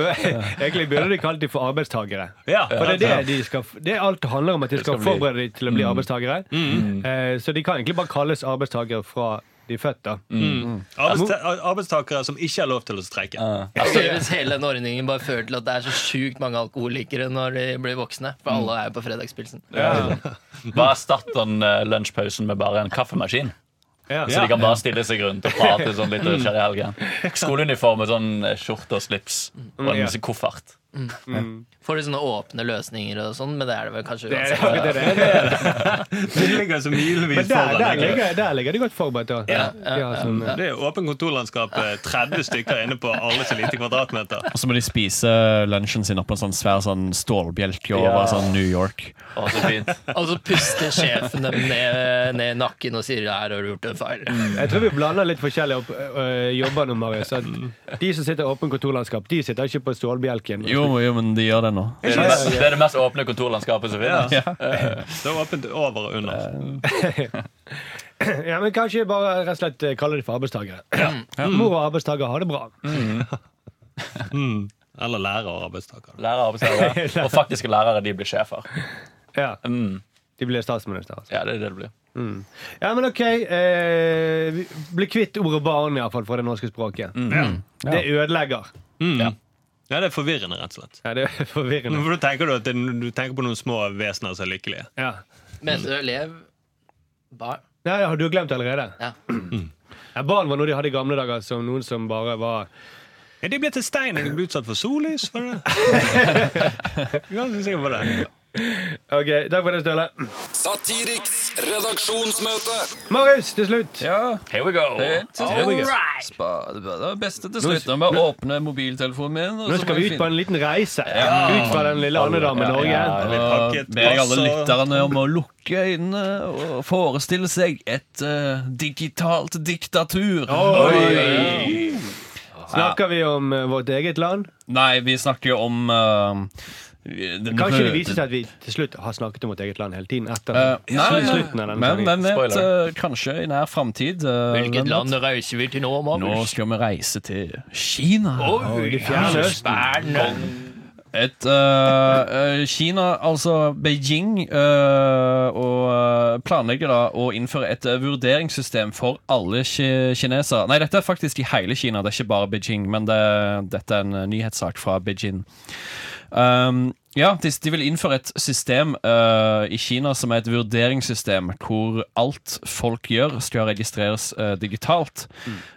Egentlig burde de kalt dem for arbeidstagere.
Ja,
For det er det de skal Det er alt det handler om, at de skal,
skal bli-
forberede dem til å bli arbeidstagere. Eh, så de kan egentlig bare kalles arbeidstagere fra de er født, da.
Arbeidsta arbeidstakere som ikke har lov til å streike.
Altså, hvis hele den ordningen bare fører til at det er så sjukt mange alkoholikere når de blir voksne. For alle er jo på fredagspilsen.
Bare erstatt den eh, lunsjpausen med bare en kaffemaskin.
Ja.
Så de kan bare stille seg rundt og prate sånn litt kjære helgen. Skoleuniform med sånn eh, skjorte og slips og en
ja.
sånn koffert.
Får de sånne åpne løsninger og sånn, men det er det vel kanskje
Det er
uansett.
akkurat det det er.
Det ligger så milevis
Men der,
foran
der,
egentlig.
ligger, der ligger de godt forberedt. Da.
Ja,
De har sånn, eh,
Det er åpen kontorlandskap, eh, 30 stykker inne på alle så lite kvadratmeter.
Og så må de spise lunsjen sin opp på en sånn svær sånn stålbjelke over
Ja.
sånn New York.
Å, så fint.
Og så puster sjefen dem ned, ned i nakken og sier 'her har du gjort en feil'.
Jeg tror vi blander litt forskjellige opp, øh, jobber nå, Marius. At de som sitter i åpen kontorlandskap, de sitter ikke på stålbjelken.
Jo, jo, men de gjør det nå.
Det er det mest, det, er det mest åpne kontorlandskapet som finnes.
Ja. Det er åpent over og under.
Ja, men Kanskje bare rett og slett eh, kalle de for arbeidstagere. Mor og arbeidstager har det bra.
Mm. Eller lærer og arbeidstaker.
Lærere og arbeidsgivere. Og faktiske lærere, de blir sjefer.
Ja,
Mm.
De ble statsminister. Altså.
Ja, det er det det blir.
Ja, men OK. Eh, vi blir kvitt ordet barn, iallfall, fra det norske språket. Det ødelegger.
Ja, det er forvirrende, rett og slett.
Ja, det er forvirrende.
For da tenker du at det, du tenker på noen små vesener som er lykkelige.
Ja.
Mener du elev? Bar?
Nei, har du glemt allerede?
Ja.
Ja, barn var noe de hadde i gamle dager, som noen som bare var
Ja, de ble til stein når de ble utsatt for sollys. Var det? Ganske sikker på det.
OK, takk for det, Støle.
Satiriks redaksjonsmøte.
Marius, til slutt.
Ja,
Here we go!
Spa- Det var det beste til slutt. Jeg bare åpne mobiltelefonen min. og
Nå
så
skal
må
vi
jeg
ut på en liten reise. Ut fra den lille andedammen Norge.
finne-
Ja, vi
Og
pakket
ber jeg alle
masse-
lytterne om å lukke øynene og forestille seg et eh, digitalt diktatur. Oi.
Snakker vi om eh, vårt eget land?
Nei, vi snakker jo om eh, den
Kanskje det
røde-
viser seg at vi til slutt har snakket om vårt eget land hele tiden? Etter
Eh, nei,
slutten av denne
men
sendingen.
hvem vet?
Spoiler.
eh, kanskje i nær framtid. eh, hvem
Hvilket
vet?
land reiser vi til nå,
Nå
Marius?
skal vi reise til Kina.
Oi, det fjerne østen.
Et øh, øh, Kina, altså Beijing, øh, og øh, planlegger da å innføre et øh, vurderingssystem for alle ki kinesere. Nei, dette er faktisk i hele Kina, det er ikke bare Beijing, men det, dette er en øh, nyhetssak fra Beijing. Um, ja, de, de vil innføre et system eh, i Kina som er et vurderingssystem hvor alt folk gjør, skal registreres eh, digitalt,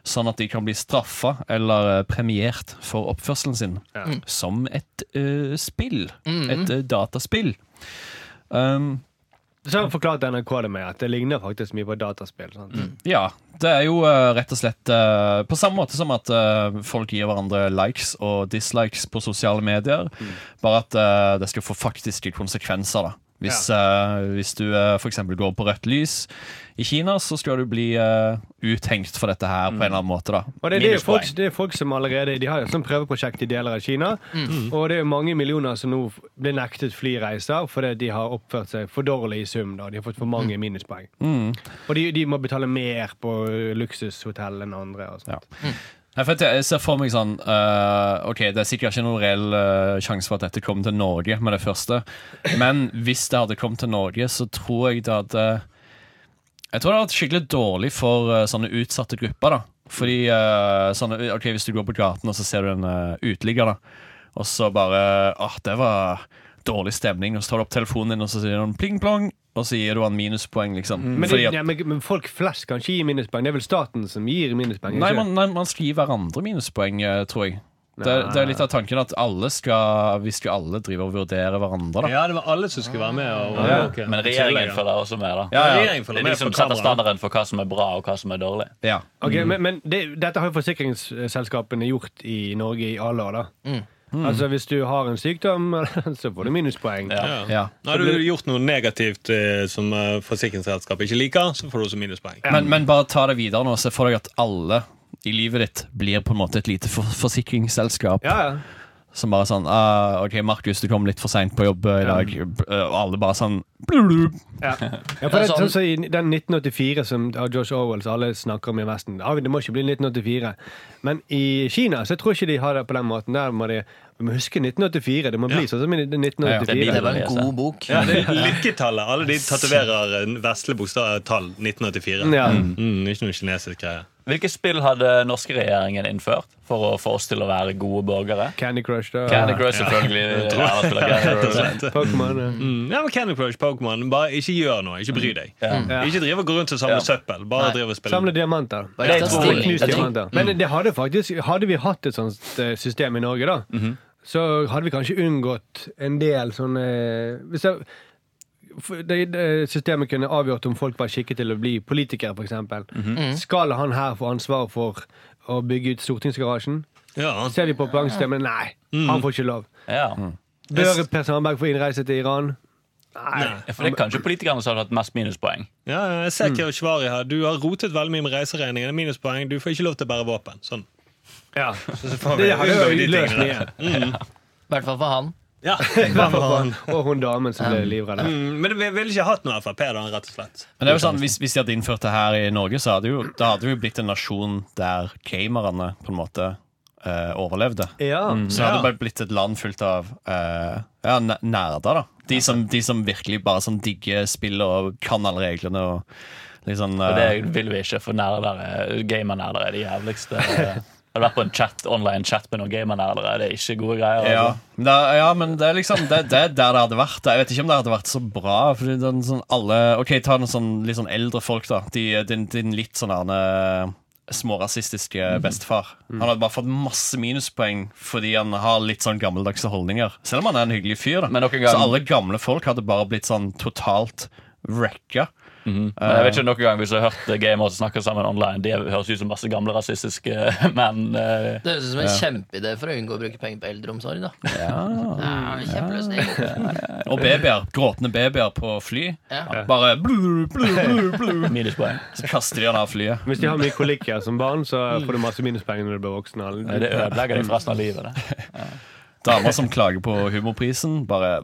sånn at de kan bli straffa eller eh, premiert for oppførselen sin. Som et eh, spill.
Mm-hmm.
Et eh, dataspill. Um,
Så forklarte NRK det med at det ligner faktisk mye på dataspill. Sant?
Ja, det er jo eh, rett og slett eh, på samme måte som at eh, folk gir hverandre likes og dislikes på sosiale medier,
Mm.
bare at eh, det skal få faktiske konsekvenser, da. Hvis, eh, hvis du uh, f.eks. går på rødt lys i Kina, så skal du bli eh, uthengt for dette her på en eller annen måte, da.
Mm. Og det, det, er jo folk,
Minuspoeng.
det er folk som allerede De har jo et sånt prøveprosjekt i deler av Kina.
Mm.
Og det er jo mange millioner som nå f- blir nektet flyreiser fordi de har oppført seg for dårlig i sum. Da. De har fått for mange minuspoeng.
Mm.
Og de, de må betale mer på luksushotell enn andre. altså. Og sånt.
Nei, for at jeg jeg ser for meg sånn eh, Ok, det er sikkert ikke noen reell eh, sjanse for at dette kommer til Norge med det første. Men hvis det hadde kommet til Norge, så tror jeg det hadde Jeg tror det hadde vært skikkelig dårlig for eh, sånne utsatte grupper. da Fordi eh, sånne, ok, Hvis du går på gaten og så ser du en eh, uteligger, da og så bare Åh, det var dårlig stemning. Og så tar du opp telefonen din og så sier du pling-plong, og så gir du han minuspoeng, liksom.
Mm. Men, det,
Fordi at,
ja, men, men folk flest kan ikke gi minuspoeng. Det er vel staten som gir minuspoeng?
Nei,
ikke?
man, nei, man skal gi hverandre minuspoeng, eh, tror jeg. Det, er- det er litt av tanken at alle skal, vi skal alle drive og vurdere hverandre. Da.
Ja, det var alle som skulle være med. Og, ok.
Men
Tillegg,
regjeringen
ja.
følger også med, da.
Ja,
ja.
regjeringen
Det
følger
er de
med
som
på
setter
kameraet.
standarden for hva som er bra, og hva som er dårlig.
Ja.
Ok, Men, men det, dette har jo forsikringsselskapene gjort i Norge i alle år. da Altså Hvis du har en sykdom, så får du minuspoeng.
Ja.
Mm. Ja.
Har du gjort noe negativt eh, som eh, forsikringsselskapet ikke liker, så får du også minuspoeng.
Men, men bare ta det videre nå, se for deg at alle i livet ditt blir på en måte et lite for forsikringsselskap
Ja, ja.
som bare sånn ah, OK, Markus, du kom litt for seint på jobb eh, i dag. Eh, Og alle bare sånn blub, blub.
Ja, for det, er
sånn-
sånn, som I den 1984 som av Josh Orwell som alle snakker om i Vesten ah, Det må ikke bli 1984. Men i Kina så tror jeg ikke de har det på den måten. Der må de vi må huske 1984. Det må bli sånn som i
Ja,
Det
1984.
ja.
var en god bok.
Ja, det er Lykketallet. Alle de tatoverer eh, vesle bokstav tall 1984.
Ja.
Mm, ikke noe kinesisk greie.
Hvilke spill hadde norske regjeringen innført for å få oss til å være gode borgere?
Candy Crush, da.
Candy Crush, selvfølgelig. Ja, det spiller Candy Crush.
Pokémon. ja.
Mm, ja, men Candy Crush, Pokémon, bare ikke gjør noe. Ikke bry deg.
Ja.
Ikke drive og gå rundt og samle
Ja.
søppel. Bare
Nei.
drive og spille.
Mm. Samle diamanter.
Bare ta
tror jeg.
stilling.
Knust
Jeg tror-
diamanter. Men det hadde faktisk Hadde vi hatt et sånt eh, system i Norge, da, så hadde vi kanskje unngått en del sånne Hvis det, for det, det systemet kunne avgjort om folk var skikket til å bli politikere, f.eks. eksempel Skal han her få ansvar for å bygge ut stortingsgarasjen?
Ja.
Ser vi på poengsystemet, nei, han får ikke lov.
Ja.
Bør Per Sandberg få innreise til Iran?
Ja, For det er kanskje politikerne som hadde hatt mest minuspoeng.
Ja, ja,
Mm.
jeg ser Keshvari her. Du har rotet veldig mye med reiseregningen. Det er Minuspoeng. Du får ikke lov til å bære våpen. Sånn.
Ja.
Så får vi
Det hadde
unngå de
jo løst
tingene der.
mye.
I hvert fall for han.
Ja.
Og hun damen som ble livredd.
Mm, Men vi ville ikke hatt noe Frp, da, rett og slett.
Men det er jo sånn, hvis, hvis de hadde innført det her i Norge, så hadde jo, da hadde vi jo blitt en nasjon der gamerne på en måte eh, overlevde.
Ja. Mm.
Mm.
Så hadde det bare blitt et land fullt av eh, ja, ne- nerder, da. De som, de som virkelig bare som digger spillet og kan alle reglene. Og liksom,
Og det vil vi ikke, for nerdere, gamernerder er de jævligste. Har du vært på en chat, online chat med noen gamernerdere? Det er ikke gode greier.
ja.
Altså.
Men Det, er- ja, men det er liksom det, det er der det hadde vært. Jeg vet ikke om det hadde vært så bra. Fordi den, sånn, alle, ok, Ta noen sånn, litt sånn eldre folk, da. De, din, din litt sånn erne smårasistiske bestefar. Han hadde bare fått masse minuspoeng fordi han har litt sånn gammeldagse holdninger. Selv om han er en hyggelig fyr. da
Men noen gang-
Så alle gamle folk hadde bare blitt sånn totalt wrecka.
Men jeg vet ikke noen gang hvis jeg har hørt gamere som snakker sammen online. De høres ut som masse gamle rasistiske menn. eh,
Det høres ut som en kjempeidé for å unngå å bruke penger på eldreomsorg. da ja, Kjempeløsning.
Og babyer, gråtende babyer på fly.
Ja.
Bare blu, blu, blu, blu.
Minuspoeng.
Så kaster de han av flyet.
Hvis de har mye kolikker som barn, så får du masse minuspenger når du blir voksen.
Nei, Det ødelegger deg for resten av livet. Det.
Damer som klager på humorprisen, bare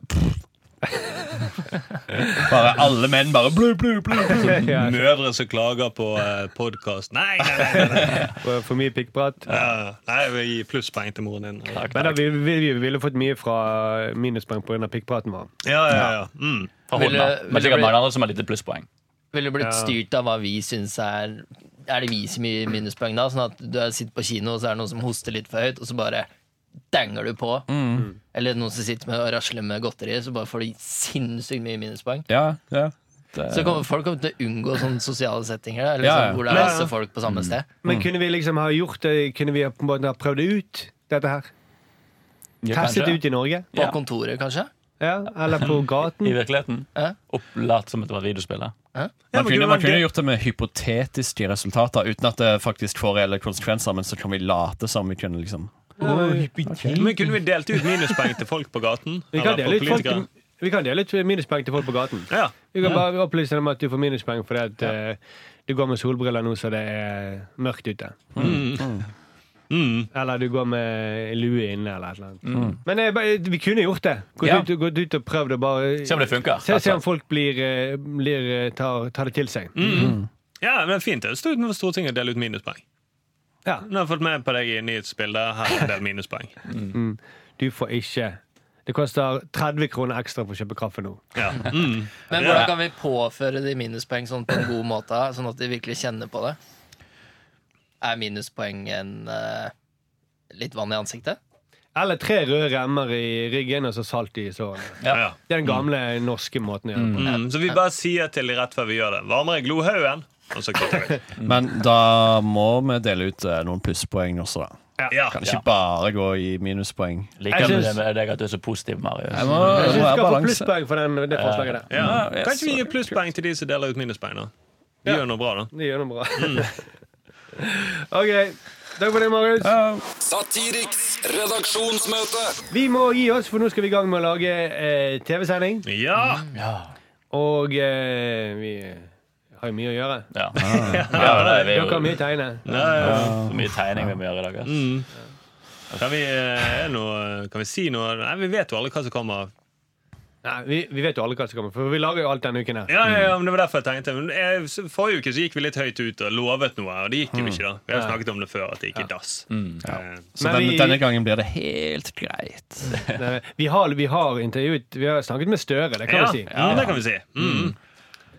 Bare alle menn bare blu, blu, blu, blu.
Ja,
Mødre som klager på eh, podkast. Nei, nei, nei! nei, nei.
for- for mye pikkprat.
Ja, nei jeg vil gi plusspoeng til moren din. Ja,
Men da, vi, vi, vi ville fått mye fra minuspoeng pga. pikkpraten vår.
ja, ja. Mm.
Fra
Vil
hånda.
det- vil
Men
det
sikkert
bli-
mange andre som har lite plusspoeng.
Ville blitt styrt av hva vi syns er Er det vi som gir minuspoeng da? Sånn at du sitter på kino, og så er det noen som hoster litt for høyt, og så bare danger du på.
Mm.
Eller noen som sitter med og rasler med godteri, så bare får de sinnssykt mye minuspoeng.
Ja, ja.
Så kommer folk kommer til å unngå sånne sosiale settinger. da, Eller
Ja, ja.
sånn, hvor det er
Men-
masse folk på samme sted.
Mm.
Men kunne vi liksom ha gjort det Kunne vi ha på en måte ha prøvd det ut, dette her? Testet det ut i Norge?
På
Ja.
kontoret, kanskje.
Ja, Eller på
I
gaten?
virkeligheten.
Ja.
Opplatt som et videospill. da.
Ja,
Man
men
kunne,
kunne
man
man
kunne
det-
gjort det med hypotetiske resultater, uten at det faktisk får reelle konsekvenser, men så kan vi late som vi kunne, liksom.
Men kunne vi delt ut minuspoeng til folk på gaten?
Vi kan
Eller
dele
på
ut folk-
politikere?
vi kan dele ut minuspoeng til folk på gaten.
Ja.
Vi kan bare opplyse dem at du får minuspoeng fordi at eh, du går med solbriller nå så det er mørkt ute.
Mm.
Eller du går med lue inne, eller et eller annet. Men eh, bare- vi kunne gjort det. Gått,
Ja.
ut, gått ut og prøvd å bare
Se om det funker. Altså,
Se, se om folk blir, eh, blir eh, tar, tar det til seg.
Mm. ja, men fint. Det står utenfor Stortinget å dele ut minuspoeng.
Ja.
Nå har jeg fått med på deg i nyhetsbildet. Her er en del minuspoeng.
Du får ikke Det koster 30 kroner ekstra for å kjøpe kaffe nå.
Ja. Mm.
Men hvordan kan vi påføre de minuspoeng sånn på en god måte, sånn at de virkelig kjenner på det? Er minuspoeng en eh, litt vann i ansiktet?
Eller tre røde remmer i ryggen og så salt i sårene.
Ja. Ja.
Det er den gamle norske måten å gjøre det på.
Mm. Så vi bare sier til de rett før vi gjør det. Varmer i glohaugen, og så kutter vi.
Mm.
Men da må vi dele ut eh, noen plusspoeng også, da.
Ja.
Kan ikke bare gå i minuspoeng.
Liker
Jeg
du
syns-
det med deg at du er så positiv, Marius?
Jeg må,
Jeg
det må
synes vi
være
skal få
balanse.
plusspoeng for den, det forslaget der.
Ja.
Ja, yes.
Kanskje vi gir plusspoeng til de som deler ut minuspoeng, da. De gjør noe bra, da.
Det gjør noe bra. OK. Takk for det, Marius.
Satiriks redaksjonsmøte.
Vi må gi oss, for nå skal vi i gang med å lage eh, TV-sending.
Ja!
Og eh, vi har jo mye å gjøre.
Ja. ja, det er vi
Dere har
jo.
mye å tegne.
Så mye tegning vi må gjøre i dag. ass.
Kan vi, eh, er noe, kan vi si noe Nei, Vi vet jo alle hva som kommer.
Nei, vi, vi vet jo alle hva som kommer, for vi lager jo alt denne uken her.
Ja, ja, ja, men det var derfor jeg tenkte men eh, s- Forrige uke så gikk vi litt høyt ut og lovet noe, og det gikk jo ikke. da Vi har jo snakket om det før, at det gikk i dass. Eh,
Så
Men
den,
vi-
denne gangen blir det helt greit.
Nei, Vi har, vi har intervjuet Vi har snakket med Støre, det kan
ja,
vi si.
ja, det kan vi si. Mm.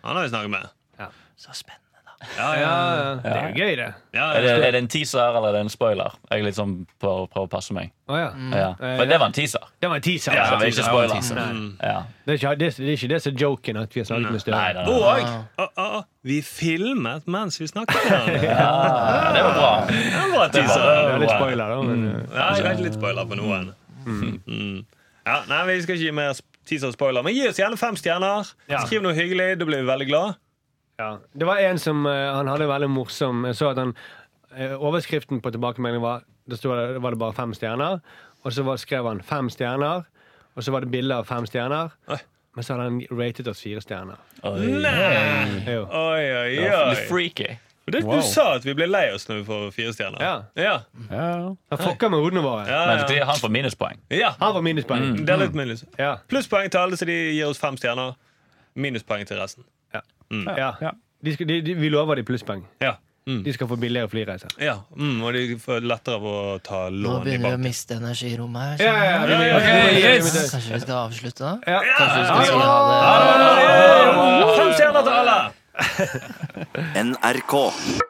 Han har vi snakket med.
Ja.
Så spennende, da. Ja, ja,
Ja, det er jo gøy, det.
ja,
Er
ja.
det, er det en teaser eller er det en spoiler? Jeg er litt sånn på å prøve å passe meg.
Å, ja.
Ja. Men det var en teaser.
Det var en teaser.
Mm. Eh, Ja,
altså.
det er ikke spoiler.
Mm.
Ja.
Det, er ikke, det, er- det er ikke det som er joken at vi har snakket med Støre.
Nei, nei, nei.
Og å, å, å, vi filmet mens vi snakket. Ja,
Ja, det var bra.
det var en
Det er
teaser.
litt spoiler, da. Men, eh,
Ja, jeg vet litt spoiler på noen. Mm. Ja, nei, Vi skal ikke gi mer teaser og spoiler, men gi oss gjerne fem stjerner.
Ja.
Skriv noe hyggelig, da blir vi veldig glad.
ja. Det var en som eh, Han hadde veldig morsom Jeg så at han eh, Overskriften på tilbakemeldingen var Da sto det, var det bare fem stjerner. Og så var, skrev han fem stjerner, og så var det bilder av fem stjerner.
Oi.
Men så hadde han ratet oss fire stjerner.
Oi.
Nei.
Jo.
Oi, oi,
Litt
oi.
freaky.
Det, du sa at vi ble lei oss når vi får fire stjerner.
Ja.
Ja.
Han fucka med hodene våre.
Ja, Mm.
Men
ja.
det- han får minuspoeng.
ja.
Han var minuspoeng.
Det er litt minus.
Ja.
Plusspoeng til alle, så de gir oss fem stjerner. Minuspoeng til resten.
Ja. De skal, de, de, vi lover de plusspoeng.
Ja.
De skal få billigere flyreiser.
Mm. Ja, mm, Og de får lettere av å ta
Nå
lån i
begynner vi å
banken.
miste energirommet her.
Ja, ja, ja, ja,
Ok, yes.
så Kanskje vi skal avslutte, da?
ja.
Kanskje vi skal si ha det?
Fem stjerner til alle!
NRK.